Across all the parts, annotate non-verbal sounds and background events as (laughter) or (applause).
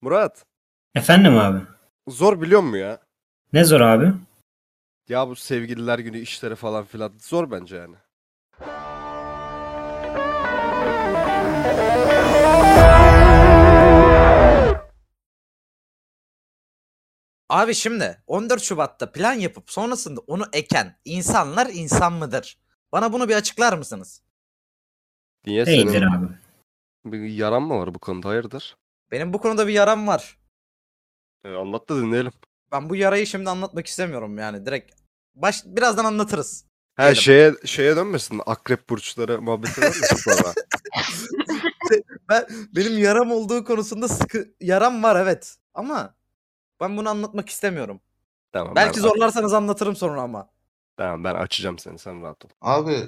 Murat, Efendim abi. zor biliyor musun ya? Ne zor abi? Ya bu sevgililer günü işleri falan filan zor bence yani. Abi şimdi 14 Şubat'ta plan yapıp sonrasında onu eken insanlar insan mıdır? Bana bunu bir açıklar mısınız? Niye Değildir senin abi. bir yaran mı var bu konuda hayırdır? Benim bu konuda bir yaram var. E, anlat da dinleyelim. Ben bu yarayı şimdi anlatmak istemiyorum yani direkt. Baş, birazdan anlatırız. (laughs) Ha Dinleyelim. şeye şeye dönmesin. Akrep burçları muhabbeti (laughs) dönmesin sonra. Ben benim yaram olduğu konusunda sıkı yaram var evet. Ama ben bunu anlatmak istemiyorum. tamam. Belki ben- zorlarsanız anlatırım sonra ama. Tamam ben açacağım seni. Sen rahat ol. Abi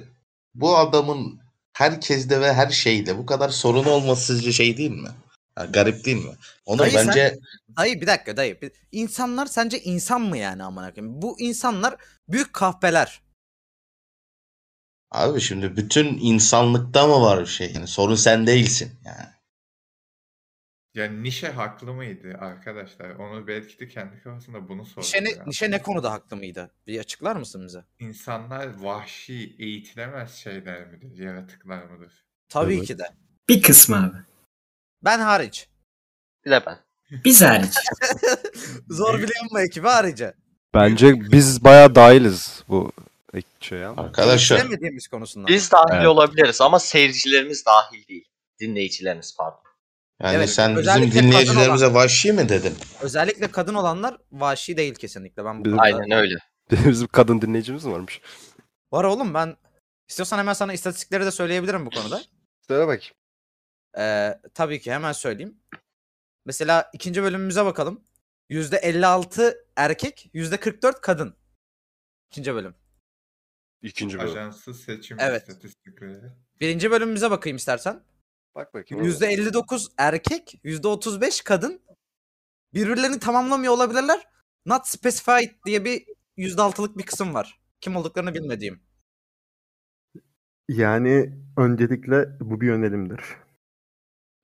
bu adamın herkeste ve her şeyde bu kadar sorun olması sizce şey değil mi? Ya, garip değil mi? Onu Dayı sen- bence Dayı bir dakika dayı. Bir- İnsanlar sence insan mı yani amına koyayım? Bu insanlar büyük kahpeler. abi şimdi bütün insanlıkta mı var bir şey? Yani sorun sen değilsin yani. Ya Nişe haklı mıydı arkadaşlar? Onu belki de kendi kafasında bunu sordu. Nişe ne, ya. Nişe ne konuda haklı mıydı? Bir açıklar mısın bize? İnsanlar vahşi, eğitilemez şeyler midir, yaratıklar mıdır? Tabii Evet. ki de. Bir kısmı abi. Ben hariç. Bir de ben. Biz hariç. Zor Büyük- biliyor mu ekibi harici? Bence biz bayağı dahiliz bu şey ama. Arkadaşlar Bilemediğimiz konusunda. Biz dahil Evet. olabiliriz ama seyircilerimiz dahil değil. Dinleyicilerimiz pardon. yani Evet, sen bizim özellikle kadın dinleyicilerimize vahşi mi dedin? Özellikle kadın olanlar vahşi değil kesinlikle. Ben bu Biz- konuda- Aynen öyle. (laughs) Bizim kadın dinleyicimiz mi varmış? Var oğlum ben istiyorsan hemen sana istatistikleri de söyleyebilirim bu konuda. Söyle bak. Ee, tabii ki hemen söyleyeyim. Mesela ikinci bölümümüze bakalım. %56 erkek, %44 kadın. İkinci bölüm. İkinci bölüm. Ajanssız seçim Evet. (laughs) istatistikleri. Birinci bölümümüze bakayım istersen. Bak bakayım. %59 erkek, %35 kadın. Birbirlerini tamamlamıyor olabilirler. Not specified diye bir %6'lık bir kısım var. Kim olduklarını bilmediğim. Yani öncelikle bu bir önerimdir.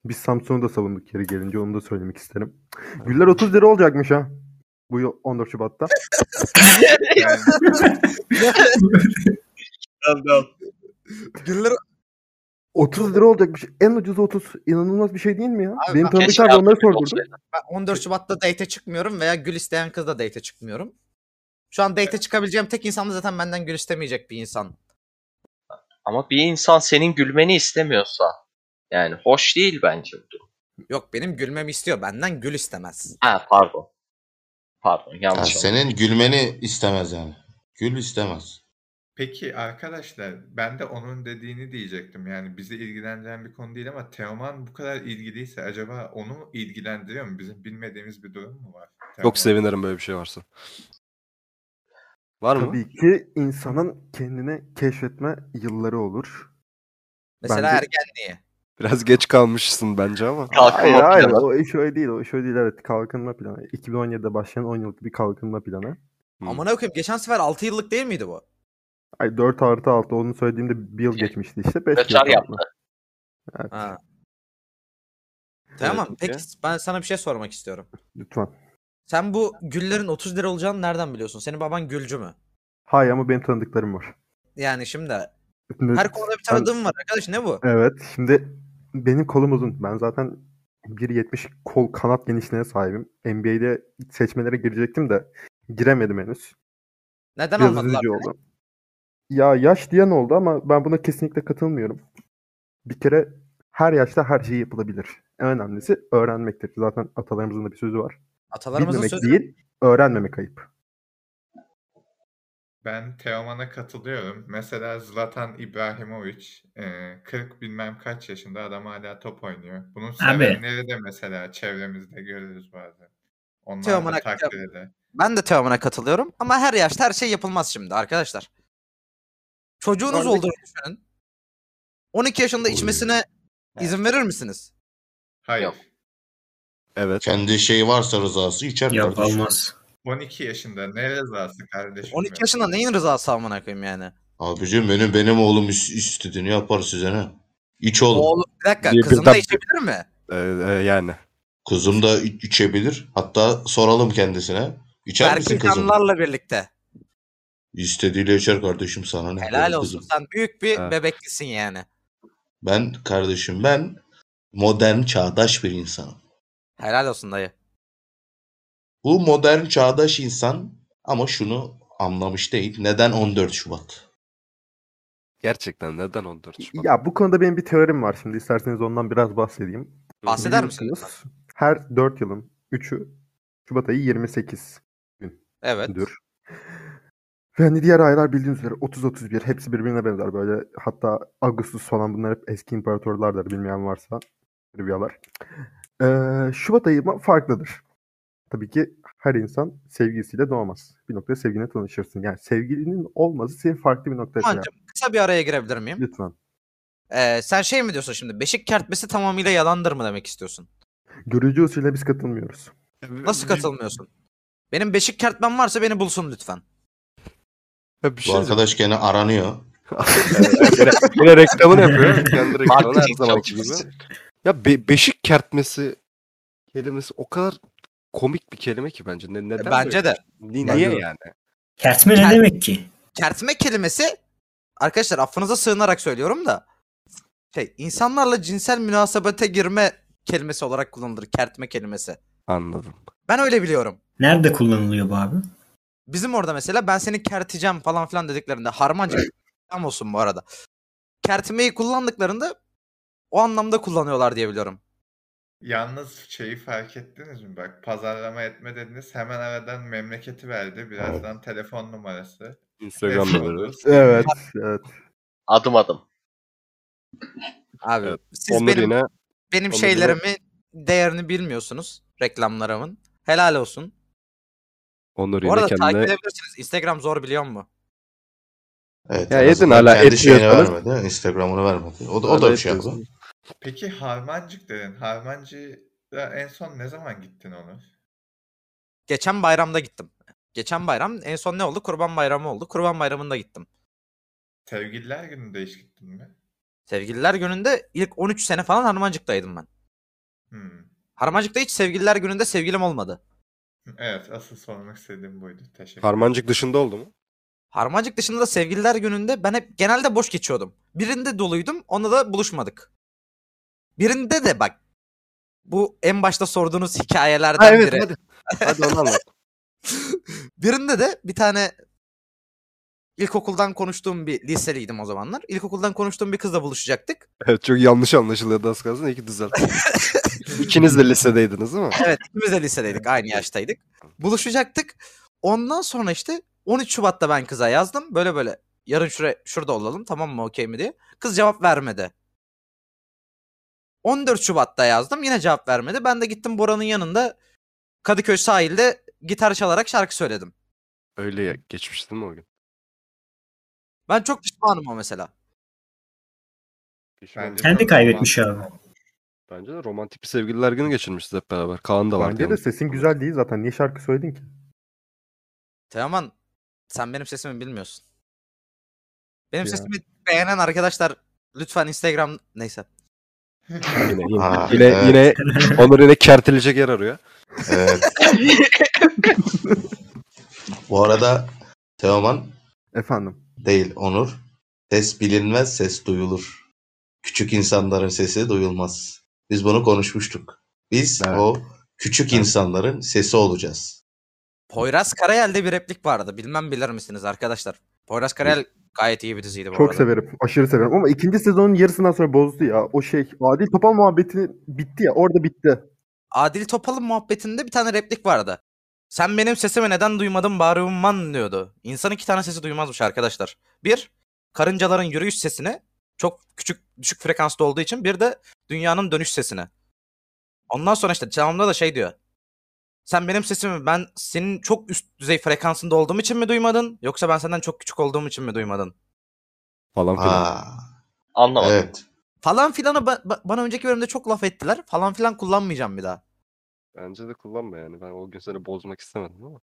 Biz Samsun'u da savunduk yeri gelince onu da söylemek isterim. Güller 30 lira olacakmış ha. Bu yıl 14 Şubat'ta. Yani Güller 30 lira olacakmış. En ucuz 30. İnanılmaz bir şey değil mi ya? Abi Benim bak, tanıdık Keşke abi onları yardımcı sordurdum. olsaydı. Ben 14 Şubat'ta date çıkmıyorum veya gül isteyen kızla date çıkmıyorum. Şu an date çıkabileceğim tek insan da zaten benden gül istemeyecek bir insan. Ama bir insan senin gülmeni istemiyorsa yani hoş değil bence bu durum. Yok benim gülmemi istiyor. Benden gül istemez. Ha pardon. Pardon Ya yanlış oldu. senin gülmeni istemez yani. Gül istemez. Peki arkadaşlar ben de onun dediğini diyecektim. Yani bizi ilgilendiren bir konu değil ama Teoman bu kadar ilgiliyse acaba onu mu ilgilendiriyor mu? Bizim bilmediğimiz bir durum mu var? Teoman? Çok sevinirim böyle bir şey varsa. Var mı? Tabii ki insanın kendini keşfetme yılları olur. Mesela Bence- ergenliği. Biraz geç kalmışsın bence ama. Hayır Kalkınma hayır planı. o iş öyle değil. O iş öyle değil evet kalkınma planı. 2017'de başlayan 10 yıllık bir kalkınma planı. Hı. Amına koyayım geçen sefer 6 yıllık değil miydi bu? Ay 4 artı 6 onu söylediğimde bir yıl Şey, geçmişti işte. 5 Rötar yaptı. Ha. Tamam Evet, peki peki. ben sana bir şey sormak istiyorum. Lütfen. Sen bu güllerin 30 lira olacağını nereden biliyorsun? Senin baban gülcü mü? Hayır ama benim tanıdıklarım var. Yani şimdi Şimdi- her konuda bir Ben- tanıdığım var arkadaş ne bu? Evet. Şimdi benim kolum uzun. Ben zaten 1.70 kol kanat genişliğine sahibim. NBA'de seçmelere girecektim de giremedim henüz. Neden Biraz almadılar? üzücü oldu. Ya yaş diyen oldu ama ben buna kesinlikle katılmıyorum. Bir kere her yaşta her şey yapılabilir. En önemlisi öğrenmektir. Zaten atalarımızın da bir sözü var. Atalarımızın Bilmemek sözü değil, öğrenmemek ayıp. Ben Teoman'a katılıyorum. Mesela Zlatan İbrahimovic e, 40 bilmem kaç yaşında adam hala top oynuyor. Bunun sevenleri de mesela çevremizde görürüz bazen. Onlar Teoman'a da takdir eder. Ben de Teoman'a katılıyorum ama her yaşta her şey yapılmaz şimdi arkadaşlar. Çocuğunuz Örnek- olduğunu düşünün. 12 yaşında içmesine izin verir misiniz? Hayır. Yok. Evet. Kendi şeyi varsa rızası içer Yok kardeşim. olmaz. 12 yaşında ne rızası kardeşim 12 benim? yaşında neyin rızası amına koyayım yani? Abicim benim benim oğlum is- istediğini yapar size ne? İç oğlum. Oğlum bir dakika Bir- kızın birden- da içebilir mi? Ee, e, yani. Kızım da iç- içebilir. Hatta soralım kendisine. İçer misin Berkin kızım? Canlarla birlikte. İstediğiyle içer kardeşim sana ne Helal diyorum olsun. kızım. Sen büyük bir Evet. bebeklisin yani. Ben kardeşim ben modern çağdaş bir insanım. Helal olsun dayı. Bu modern çağdaş insan ama şunu anlamış değil. Neden 14 Şubat? Gerçekten neden 14 Şubat? Ya bu konuda benim bir teorim var şimdi isterseniz ondan biraz bahsedeyim. Bahseder misin? Biliyorsunuz, Her 4 yılın 3'ü Şubat ayı 28 Evet. Dur. Ve hani diğer aylar bildiğiniz üzere 30-31 hepsi birbirine benzer böyle. Hatta Augustus falan bunlar hep eski imparatorlardır bilmeyen varsa. Trivyalar. Ee, Şubat ayı ma- farklıdır. Tabii ki her insan sevgilisiyle doğmaz. Bir noktada sevgiline tanışırsın. Yani sevgilinin olması seni farklı bir noktaya koyar. Kaan'cığım kısa bir araya girebilir miyim? Lütfen. Ee, sen şey mi diyorsun şimdi? Beşik kertmesi tamamıyla yalandır mı demek istiyorsun? Görücü usulüne biz katılmıyoruz. Nasıl katılmıyorsun? Benim beşik kertmem varsa beni bulsun lütfen. Ya bir şey Bu arkadaş gene aranıyor. yine, (laughs) yine reklamını yapıyor. (laughs) Kendi reklamını her Marketing zamanki gibi. çalışması. Ya be- beşik kertmesi kelimesi o kadar komik bir kelime ki bence. Ne, neden Bence de. böyle? Bence Ni- Niye de. yani? Kertme ne Kert- demek ki? Kertme kelimesi arkadaşlar affınıza sığınarak söylüyorum da şey insanlarla cinsel münasebete girme kelimesi olarak kullanılır kertme kelimesi. Anladım. Ben öyle biliyorum. Nerede kullanılıyor bu abi? Bizim orada mesela ben seni kerteceğim falan filan dediklerinde harmancı tam olsun bu arada. Kertmeyi kullandıklarında o anlamda kullanıyorlar diye biliyorum. Yalnız şeyi fark ettiniz mi? Bak pazarlama etme dediniz. Hemen aradan memleketi verdi. Birazdan telefon numarası. Instagram'da Neyse, böyle. olursa- Evet. evet. Adım adım. Abi Evet, siz Onlar benim yine benim onları- şeylerimi değerini bilmiyorsunuz reklamlarımın. Helal olsun. Onur Bu yine arada takip kendine edebilirsiniz. Instagram zor biliyor musun? Evet, Ya en yedin azından hala, kendi şeyini etmiyorsanız. vermedi. Instagram'ını vermedi. O da, o da bir şey Evet, yaptı. Peki Harmancık dedin. Harmancık'a en son ne zaman gittin onu? Geçen bayramda gittim. Geçen bayram en son ne oldu? Kurban bayramı oldu. Kurban bayramında gittim. Sevgililer gününde hiç gittin mi? Sevgililer gününde ilk 13 sene falan Harmancık'taydım ben. Hmm. Harmancık'ta hiç sevgililer gününde sevgilim olmadı. Evet, asıl sormak istediğim buydu. Teşekkür Harmancık dışında oldu mu? Harmancık dışında da sevgililer gününde ben hep genelde boş geçiyordum. Birinde doluydum, onda da buluşmadık. Birinde de bak bu en başta sorduğunuz hikayelerden biri. hadi. Hadi onu (laughs) anlat. Birinde de bir tane ilkokuldan konuştuğum bir liseliydim o zamanlar. İlkokuldan konuştuğum bir kızla buluşacaktık. Evet, çok yanlış anlaşılıyordu az kalsın. İyi ki (laughs) düzelttin. İkiniz de lisedeydiniz değil mi? Evet ikimiz de lisedeydik aynı yaştaydık. Buluşacaktık. Ondan sonra işte 13 Şubat'ta ben kıza yazdım. Böyle böyle yarın şura, şurada olalım tamam mı okey mi diye. Kız cevap vermedi. 14 Şubat'ta yazdım yine cevap vermedi. Ben de gittim Bora'nın yanında Kadıköy sahilde gitar çalarak şarkı söyledim. Öyle ya, geçmişti değil mi o gün? Ben çok pişmanım o mesela. ederim. Bence Kendi çok kaybetmiş romantik oldu. Bence de romantik bir sevgililer günü geçirmişiz hep beraber. Kaan da vardı. Bence de yalnız. sesin güzel değil zaten. Niye şarkı söyledin ki? Teoman sen benim sesimi bilmiyorsun. Benim Ya. sesimi beğenen arkadaşlar lütfen Instagram neyse. Yine, yine, Aa, yine, evet. (laughs) yine Onur yine kertilecek yer arıyor. (laughs) Evet. Bu arada Teoman Efendim. değil Onur. Ses bilinmez, ses duyulur. Küçük insanların sesi duyulmaz. Biz bunu konuşmuştuk. Biz Evet. o küçük Evet. insanların sesi olacağız. Poyraz Karayel'de bir replik vardı. Bilmem bilir misiniz arkadaşlar? Poyraz Karayel gayet iyi bir diziydi bu Çok arada. severim. Aşırı severim. Ama ikinci sezonun yarısından sonra bozdu ya. O şey Adil Topal muhabbeti bitti ya. Orada bitti. Adil Topal'ın muhabbetinde bir tane replik vardı. Sen benim sesimi neden duymadın bağırman diyordu. İnsan iki tane sesi duymazmış arkadaşlar. Bir, karıncaların yürüyüş sesini çok küçük düşük frekansta olduğu için bir de dünyanın dönüş sesini. Ondan sonra işte canımda da şey diyor. Sen benim sesimi ben senin çok üst düzey frekansında olduğum için mi duymadın? Yoksa ben senden çok küçük olduğum için mi duymadın? Falan filan. Aa, Anlamadım. evet. Falan filanı ba- ba- bana önceki bölümde çok laf ettiler. Falan filan kullanmayacağım bir daha. Bence de kullanma yani. Ben o gün seni bozmak istemedim ama.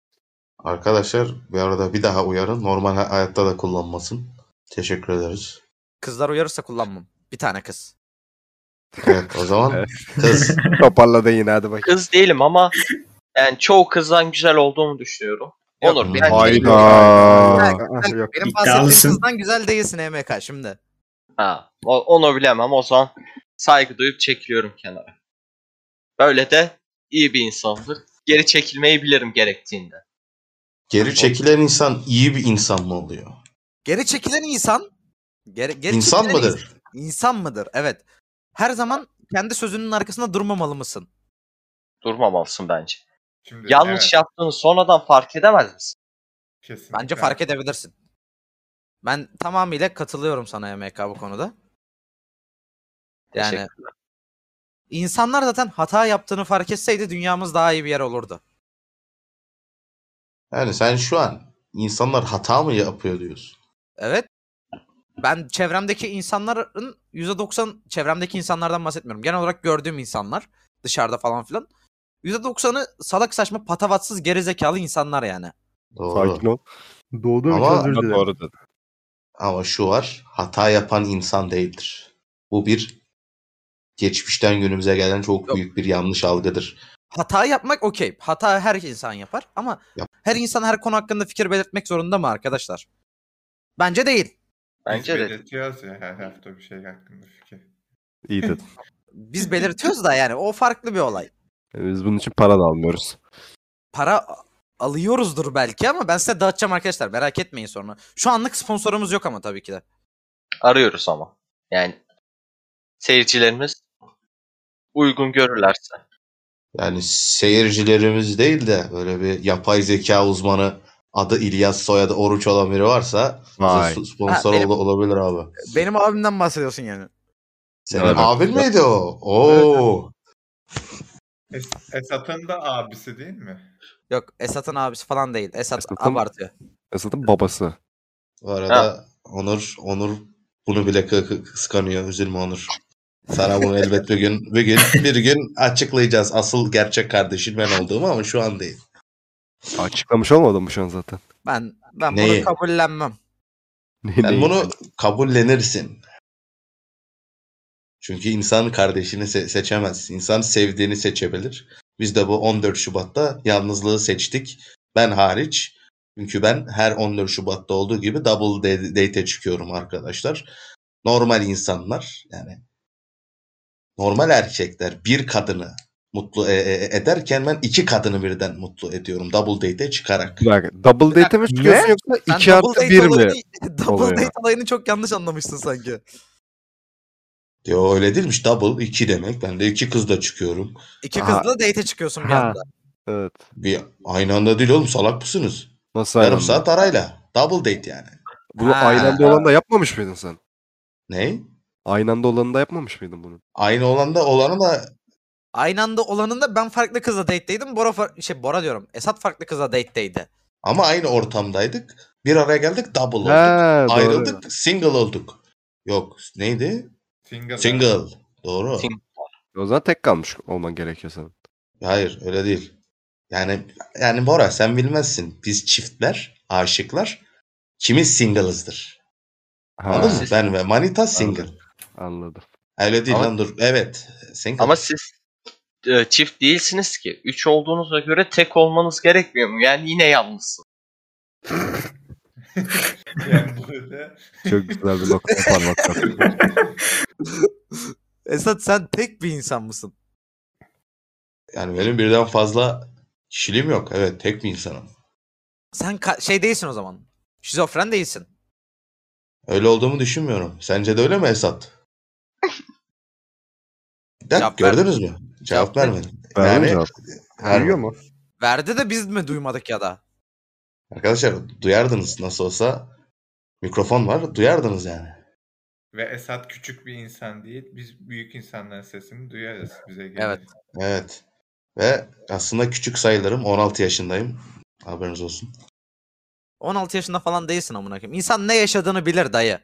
Arkadaşlar bir arada bir daha uyarın. Normal hayatta da kullanmasın. Teşekkür ederiz. Kızlar uyarırsa kullanmam. Bir tane kız. Evet, o (laughs) zaman kız. Toparladın yine hadi bak. Kız değilim ama yani çoğu kızdan güzel olduğumu düşünüyorum. Yok. Onur bir Hayda. Ah, Yok. Benim İddialısın. bahsettiğim kızdan güzel değilsin EMK şimdi. Ha, o- onu bilemem. O zaman saygı duyup çekiliyorum kenara. Böyle de iyi bir insandır. Geri çekilmeyi bilirim gerektiğinde. (laughs) Geri çekilen insan iyi bir insan mı oluyor? Geri çekilen insan geri, geri İnsan çekilen mıdır? ins- İnsan mıdır? Evet. Her zaman kendi sözünün arkasında durmamalı mısın? Durmamalısın bence. Şimdi, Yanlış evet, yaptığını sonradan fark edemez misin? kesinlikle. Bence fark edebilirsin. Ben tamamıyla katılıyorum sana EMK bu konuda. Yani Teşekkürler. insanlar zaten hata yaptığını fark etseydi dünyamız daha iyi bir yer olurdu. Yani sen şu an insanlar hata mı yapıyor diyorsun? Evet. Ben çevremdeki insanların %90 çevremdeki insanlardan bahsetmiyorum. Genel olarak gördüğüm insanlar dışarıda falan filan. %90'ı salak saçma patavatsız gerizekalı insanlar yani. Doğru. Sakin ol. Doğduğum için Ama- özür dilerim. Doğru dedin. Ama şu var. Hata yapan insan değildir. Bu bir geçmişten günümüze gelen çok Yok. büyük bir yanlış algıdır. Hata yapmak okey. Hata her insan yapar ama Yap. her insan her konu hakkında fikir belirtmek zorunda mı arkadaşlar? Bence değil. Bence Biz de. belirtiyoruz ya her hafta bir şey hakkında fikir. İyi dedin. (laughs) Biz belirtiyoruz da yani o farklı bir olay. Yani E, Biz bunun için para da almıyoruz. Para alıyoruzdur belki ama ben size dağıtacağım arkadaşlar. Merak etmeyin sonra. Şu anlık sponsorumuz yok ama tabii ki de. Arıyoruz ama. Yani seyircilerimiz uygun görürlerse. Yani seyircilerimiz değil de böyle bir yapay zeka uzmanı adı İlyas soyadı Oruç olan biri varsa Vay. bize sponsor Ha, benim- ol- olabilir abi. Benim abimden bahsediyorsun yani. Senin Evet. abin miydi o? Oo. Es- Esat'ın da abisi değil mi? Yok Esat'ın abisi falan değil. Esat Esat'ın- abartıyor. Aslında babası. Bu arada Onur Onur bunu bile kı- kı- kıskanıyor. Üzülme Onur. Sana bunu elbet bir gün bir gün bir gün açıklayacağız. Asıl gerçek kardeşin ben olduğumu ama şu an değil. Açıklamış olmadım mı şu an zaten? (laughs) Ben ben Neyi? bunu kabullenmem. Ne- Yani neyi? bunu kabullenirsin. Çünkü insan kardeşini se- seçemez. İnsan sevdiğini seçebilir. Biz de bu 14 Şubat'ta yalnızlığı seçtik. Ben hariç. Çünkü ben her 14 Şubat'ta olduğu gibi double da- date çıkıyorum arkadaşlar. Normal insanlar yani normal erkekler bir kadını mutlu e- e- ederken ben iki kadını birden mutlu ediyorum double date çıkarak. Bir dakika, double date mi çıkıyorsun yoksa Sen 2 double artı date 1 mi? olayını- (laughs) double oluyor? date olayını çok yanlış anlamışsın sanki. Yo öyle değilmiş double iki demek. Ben de iki kızla çıkıyorum. İki Aha. kızla date'e çıkıyorsun bir Ha. anda. Evet. Bir aynı anda değil oğlum salak mısınız? Nasıl Yarım aynı saat arayla. Double date yani. Bunu Ha. aynı anda olan da yapmamış mıydın sen? Ne? Aynı anda olanı da yapmamış mıydın bunu? Aynı olan da olanı da Aynı anda olanında ben farklı kızla date'deydim. Bora far- şey Bora diyorum. Esat farklı kızla date'deydi. ama aynı ortamdaydık. Bir araya geldik double olduk. He, doğru. Ayrıldık single olduk. Yok neydi? Single. Single. Doğru. Single. O zaman tek kalmış olman gerekiyor senin. Hayır öyle değil. Yani yani Bora sen bilmezsin. Biz çiftler, aşıklar kimiz single'ızdır. Ha, Anladın mı? Ben ve Manita single. Anladım. Anladım. Öyle değil Ama- lan dur. Evet. Single. Ama siz e, çift değilsiniz ki. Üç olduğunuza göre tek olmanız gerekmiyor mu? Yani yine yalnızsın. (laughs) Yani burada Çok güzel bir nokta (laughs) parmak yaptın. Esat sen tek bir insan mısın? Yani benim birden fazla kişiliğim yok. Evet tek bir insanım. Sen ka- şey değilsin o zaman. Şizofren değilsin. Öyle olduğumu düşünmüyorum. Sence de öyle mi Esat? Bir dakika, Cevap ver- gördünüz mü? Cevap Cevap ver- vermedim. Verdin Yani- mi cevap? Vermedim. Duyuyor mu? Verdi de biz mi duymadık ya da? Arkadaşlar duyardınız nasıl olsa mikrofon var duyardınız yani. ve Esat küçük bir insan değil. Biz büyük insanların sesini duyarız bize gelir. Evet. Evet. Ve aslında küçük sayılırım 16 yaşındayım. Haberiniz olsun. 16 yaşında falan değilsin amına koyayım. İnsan ne yaşadığını bilir dayı.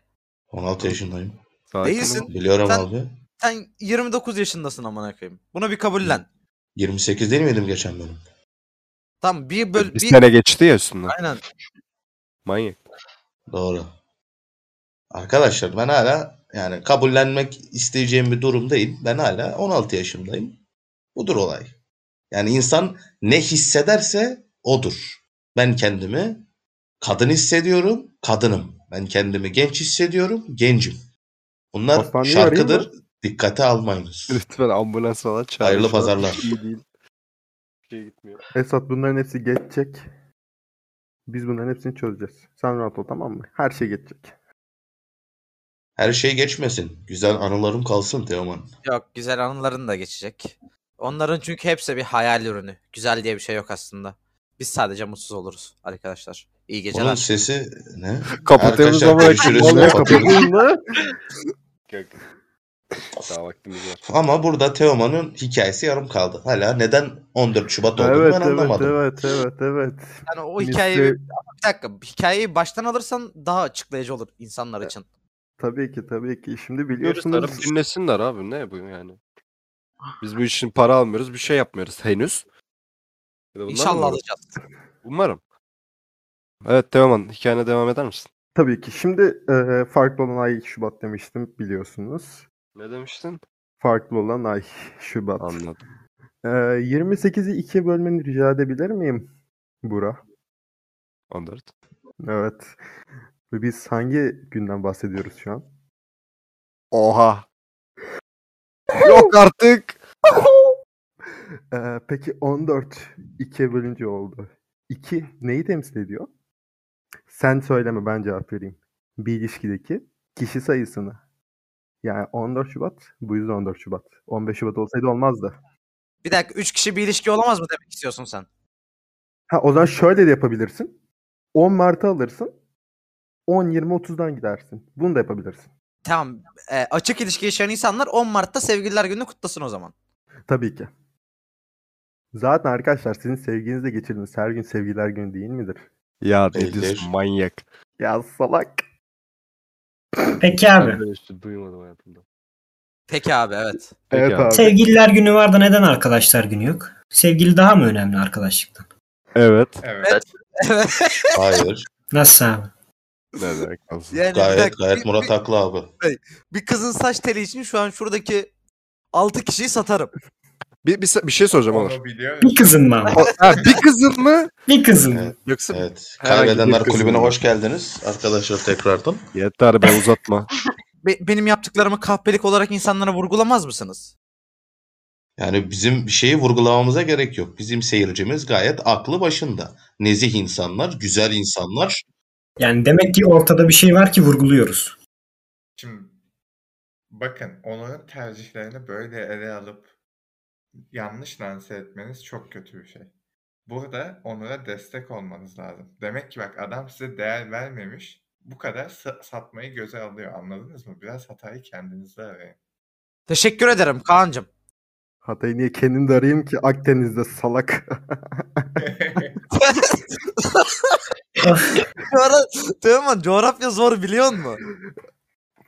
16 yaşındayım. Sakin ol. Değilsin. Biliyorum Sen- abi. Sen 29 yaşındasın amına koyayım. Bunu bir kabullen. 28 değil miydim geçen bölüm? Tamam bir böl Bir bir sene geçti ya üstünden. aynen. Manyak. Doğru. Arkadaşlar ben hala Yani kabullenmek isteyeceğim bir durum değil. Ben hala 16 yaşındayım. Budur olay. Yani insan ne hissederse odur. Ben kendimi kadın hissediyorum, kadınım. Ben kendimi genç hissediyorum, gencim. Bunlar Hastaneyi şarkıdır. arayayım Dikkate almayınız. (laughs) Lütfen ambulans falan çağır. Hayırlı Şu an pazarlar. İyi değil. Bir şey gitmiyor. Esat bunların hepsi geçecek. Biz bunların hepsini çözeceğiz. Sen rahat ol tamam mı? Her (laughs) şey geçecek. Her şey geçmesin. Güzel anılarım kalsın Teoman. Yok güzel anıların da geçecek. Onların çünkü hepsi bir hayal ürünü. Güzel diye bir şey yok aslında. Biz sadece mutsuz oluruz arkadaşlar. İyi geceler. Bunun sesi ne? Kapatıyoruz Arkadaşlar ama. görüşürüz. Vallahi Kapatıyoruz. Kapatıldı. Daha vaktimiz var. Ama burada Teoman'ın hikayesi yarım kaldı. Hala neden 14 Şubat olduğunu evet, ben evet, anlamadım. evet, evet, evet. Yani o Misli- hikayeyi bir dakika hikayeyi baştan alırsan daha açıklayıcı olur insanlar E, için. Tabii ki, tabii ki. Şimdi Diyoruz taraf biliyorsunuz. dinlesinler abi ne bu yani. Biz bu için para almıyoruz bir şey yapmıyoruz henüz. Ya da bunlar İnşallah umarım. alacağız. Umarım. Evet Teoman hikayene devam eder misin? Tabii ki. Şimdi e, farklı olan ay Şubat demiştim biliyorsunuz. Ne demiştin? Farklı olan ay (laughs) Şubat. Anladım. E, 28'i ikiye bölmeni rica edebilir miyim? Bura. 14. Evet. Ve Biz hangi günden bahsediyoruz şu an? Oha. Yok artık. Ee, peki 14 ikiye bölünce oldu. 2 neyi temsil ediyor? Sen söyleme ben cevap vereyim. Bir ilişkideki kişi sayısını. Yani 14 Şubat bu yüzden 14 Şubat. 15 Şubat olsaydı olmazdı. Bir dakika 3 kişi bir ilişki olamaz mı demek istiyorsun sen? Ha o zaman şöyle de yapabilirsin. 10 Mart'ı alırsın. 10 20 30'dan gidersin. Bunu da yapabilirsin. Tamam e, açık ilişki yaşayan insanlar 10 Mart'ta sevgililer gününü kutlasın o zaman. Tabii ki. Zaten arkadaşlar sizin sevginizle geçirdiğiniz her gün sevgiler günü değil midir? Ya ne Beyler. diyorsun manyak. Ya salak. Peki abi. Ben böyle işte duymadım hayatımda. Peki abi evet. Peki Evet abi. abi. Sevgililer günü var da neden arkadaşlar günü yok? Sevgili daha mı önemli arkadaşlıktan? Evet. Evet. (laughs) Hayır. Nasıl abi? Ne demek lazım? yani bir Gayet dakika, gayet bir- Murat haklı abi. bir kızın saç teli için şu an şuradaki 6 kişiyi satarım. Bir, bir, bir şey soracağım Onur. Onu biliyorum. Bir kızın mı abi? O- ha, bir kızın mı? Bir kızın mı? Evet. Yoksa Evet. Herhangi bir Kaybedenler kızın Kulübü'ne mı? hoş geldiniz arkadaşlar tekrardan. yeter be (laughs) uzatma. Be- benim yaptıklarımı kahpelik olarak insanlara vurgulamaz mısınız? Yani bizim bir şeyi vurgulamamıza gerek yok. Bizim seyircimiz gayet aklı başında. Nezih insanlar, güzel insanlar. Yani demek ki ortada bir şey var ki vurguluyoruz. Şimdi bakın onların tercihlerini böyle ele alıp yanlış lanse etmeniz çok kötü bir şey. Burada onlara destek olmanız lazım. Demek ki bak adam size değer vermemiş. Bu kadar sa- satmayı göze alıyor. Anladınız mı? Biraz hatayı kendinizde arayın. Teşekkür ederim (laughs) Kaan'cım. Hatay'ı niye kendim de arayayım ki Akdeniz'de salak. (laughs) Coğra- Teoman coğrafya zor biliyor musun?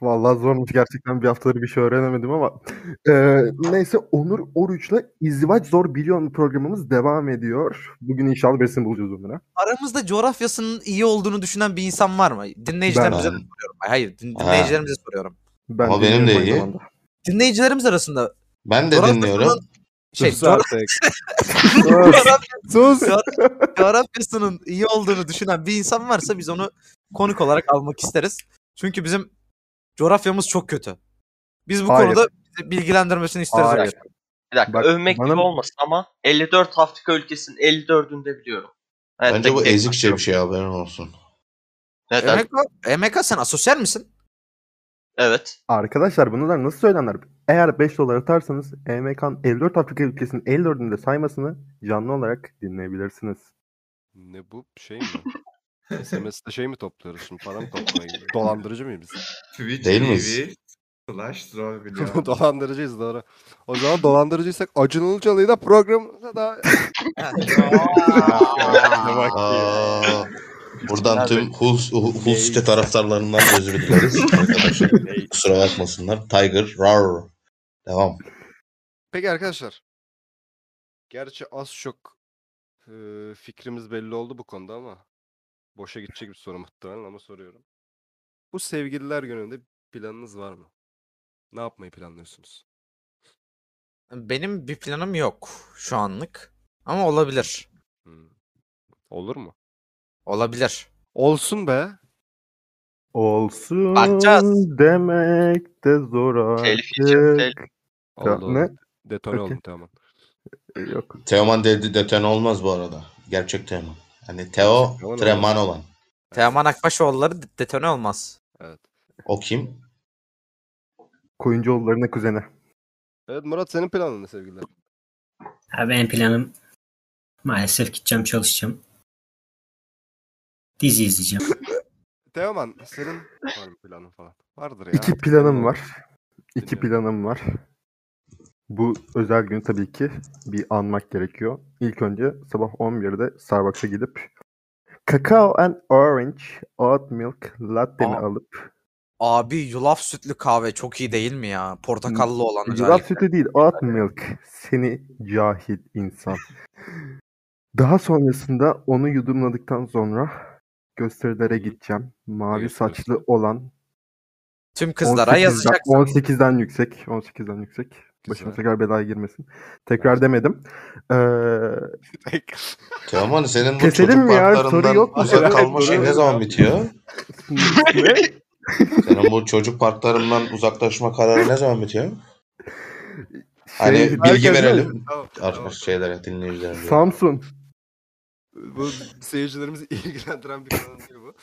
Vallahi zormuş gerçekten bir haftadır bir şey öğrenemedim ama. Ee, neyse Onur Oruç'la İzdivaç Zor Biliyor mu programımız devam ediyor. Bugün inşallah birisini bulacağız Onur'a. Aramızda coğrafyasının iyi olduğunu düşünen bir insan var mı? Dinleyicilerimize Ben- soruyorum. Hayır din- Ha. dinleyicilerimize soruyorum. Ben Ama benim de dinliyorum aynı iyi. zamanda. Dinleyicilerimiz arasında Ben de Orası dinliyorum. şey Sus coğra- artık. Ee, coğraf- Sus. coğra- coğrafyasının iyi olduğunu düşünen bir insan varsa biz onu konuk olarak almak isteriz. Çünkü bizim coğrafyamız çok kötü. Biz bu Hayır. konuda bizi bilgilendirmesini isteriz. Hayır. arkadaşlar. Bir dakika Bak, övmek bana- gibi olmasın ama 54 Afrika ülkesinin 54'ünde biliyorum. Hayatta Bence bu gidecek ezikçe başka- bir şey haberin olsun. Neden? Evet. Emeka, Emeka sen asosyal misin? (laughs) Arkadaşlar bunlar nasıl söylenir? Eğer 5 dolar atarsanız E EMK'nın 54 Afrika ülkesinin 54'ünde saymasını canlı olarak dinleyebilirsiniz. Ne bu şey mi? SMS'de şey mi topluyoruz şimdi para mı toplamaya gidiyoruz? Dolandırıcı mıyız biz? Twitch Değil TV miyiz? slash (laughs) zor (laughs) biliyor. Dolandırıcıyız doğru. O zaman dolandırıcıysak Acun Ilıcalı'yı da programımıza da... Aa, buradan tüm Huls, Huls site taraftarlarından özür dileriz (laughs) arkadaşlar. Kusura bakmasınlar. Tiger, rar. Devam. Peki arkadaşlar. Gerçi az çok e, fikrimiz belli oldu bu konuda ama boşa gidecek bir soru muhtemelen ama soruyorum. Bu sevgililer gününde planınız var mı? Ne yapmayı planlıyorsunuz? Benim bir planım yok şu anlık. Ama olabilir. Hmm. Olur mu? Olabilir. Olsun be. Olsun Bakacağız. demek de zor Telif yiyeceğim, artık. telif. Oldu, ne? oldu. Detone Okey. oldum tamam. Yok. Teoman dedi deten olmaz bu arada. Gerçek Teoman. Hani Teo Gerçek Teoman Treman olan. Teoman Akbaşoğulları de- detone olmaz. Evet. O kim? Koyuncuoğullarına kuzeni. Evet Murat senin planın ne sevgililer? Abi en planım maalesef gideceğim çalışacağım. Dizi izleyeceğim. Teoman senin var mı planın falan? Vardır ya. İki artık planım belli (laughs) var. oldu. İki Dinliyorum. planım var. Bu özel gün tabii ki bir anmak gerekiyor. İlk önce sabah 11'de Starbucks'a gidip kakao and orange oat milk latte'mi Aa, alıp Abi yulaf sütlü kahve çok iyi değil mi ya? Portakallı olan Yulaf özellikle. sütü değil oat milk. Seni cahil insan. Daha sonrasında onu yudumladıktan sonra gösterilere gideceğim. Mavi Gösterisi. saçlı olan Tüm kızlara 18'den yazacaksın. 18'den yüksek. 18'den yüksek. Başına Güzel. tekrar belaya girmesin. Tekrar demedim. Ee, Teoman senin bu Keselim çocuk mi ya? Soru parklarından yok mu? uzak Evet, kalma şeyi ne soru- zaman bitiyor? Ne? Senin bu çocuk parklarından uzaklaşma kararı ne zaman bitiyor? Hani Şey, bilgi Herkes verelim. değil mi? (laughs) Tamam, Artık tamam. şeylere dinleyicilerimize. Samsun. Bu seyircilerimizi (laughs) ilgilendiren bir konu değil bu.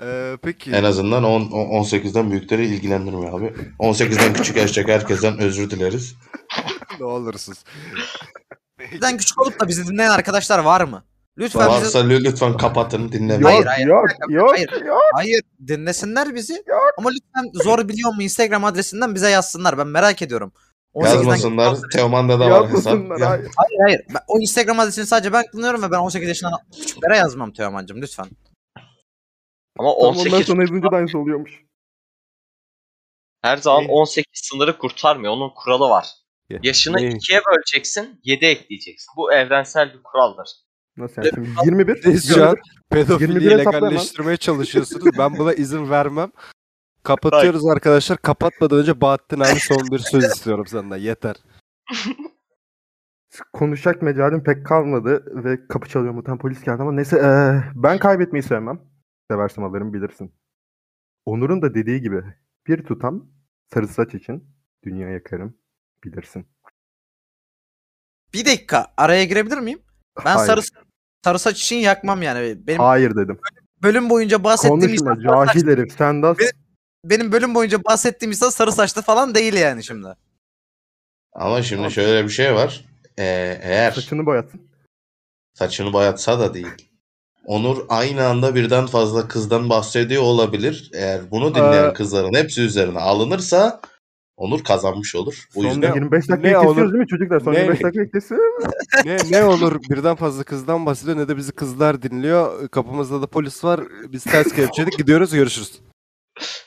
Ee, peki. En azından 10, 18'den büyükleri ilgilendirmiyor abi. 18'den küçük erkek herkesten özür dileriz. ne olursunuz. Peki. Bizden küçük olup da bizi dinleyen arkadaşlar var mı? Lütfen bizi Varsa lü- lütfen kapatın dinlemeyin. Hayır, Yok hayır, yok dakika, yok hayır. yok. Hayır dinlesinler bizi. Ama lütfen zor biliyor mu Instagram adresinden bize yazsınlar. Ben merak ediyorum. 18'den Yazmasınlar. Teoman'da da var hesap. Yapmasınlar (laughs) Ya- hayır. Hayır hayır. Ben- o Instagram adresini sadece ben kullanıyorum ve ben 18 yaşından küçüklere yazmam Teoman'cığım lütfen. Ama Tam ondan 18 sonra yazınca da aynısı oluyormuş. her zaman Ne? 18 sınırı kurtarmıyor. Onun kuralı var. Ya- Yaşını Ne? ikiye böleceksin, 7 ekleyeceksin. Bu evrensel bir kuraldır. Nasıl yani şimdi 21. Siz şu an 21. pedofiliyi 21'e sapla hemen. legalleştirmeye çalışıyorsunuz. Ben buna izin vermem. Kapatıyoruz arkadaşlar. Kapatmadan önce Bahattin abi son bir söz istiyorum senden. Yeter. Konuşacak mecalim pek kalmadı ve kapı çalıyor muhtemelen polis geldi ama neyse eee, ben kaybetmeyi sevmem. Seversem alırım bilirsin. Onur'un da dediği gibi bir tutam sarı saç için dünya yakarım bilirsin. Bir dakika araya girebilir miyim? Ben Hayır. sarı sarı saç için yakmam yani. Benim Hayır dedim. bölüm boyunca bahsettiğim Konuşma insan sarı saç- cahil herif sen de Benim- benim bölüm boyunca bahsettiğim insan sarı saçlı falan değil yani şimdi. Ama şimdi şöyle bir şey var. Ee, eğer saçını boyatsın. saçını boyatsa da değil. Onur aynı anda birden fazla kızdan bahsediyor olabilir. Eğer bunu dinleyen Ee, kızların hepsi üzerine alınırsa Onur kazanmış olur. Bu Son yüzden 25 dakika ne kesiyoruz olur- değil mi çocuklar? Son ne- 25 dakika kesiyoruz. Ne, ne olur birden fazla kızdan bahsediyor ne de bizi kızlar dinliyor. Kapımızda da polis var. Biz ters kelepçelik gidiyoruz görüşürüz.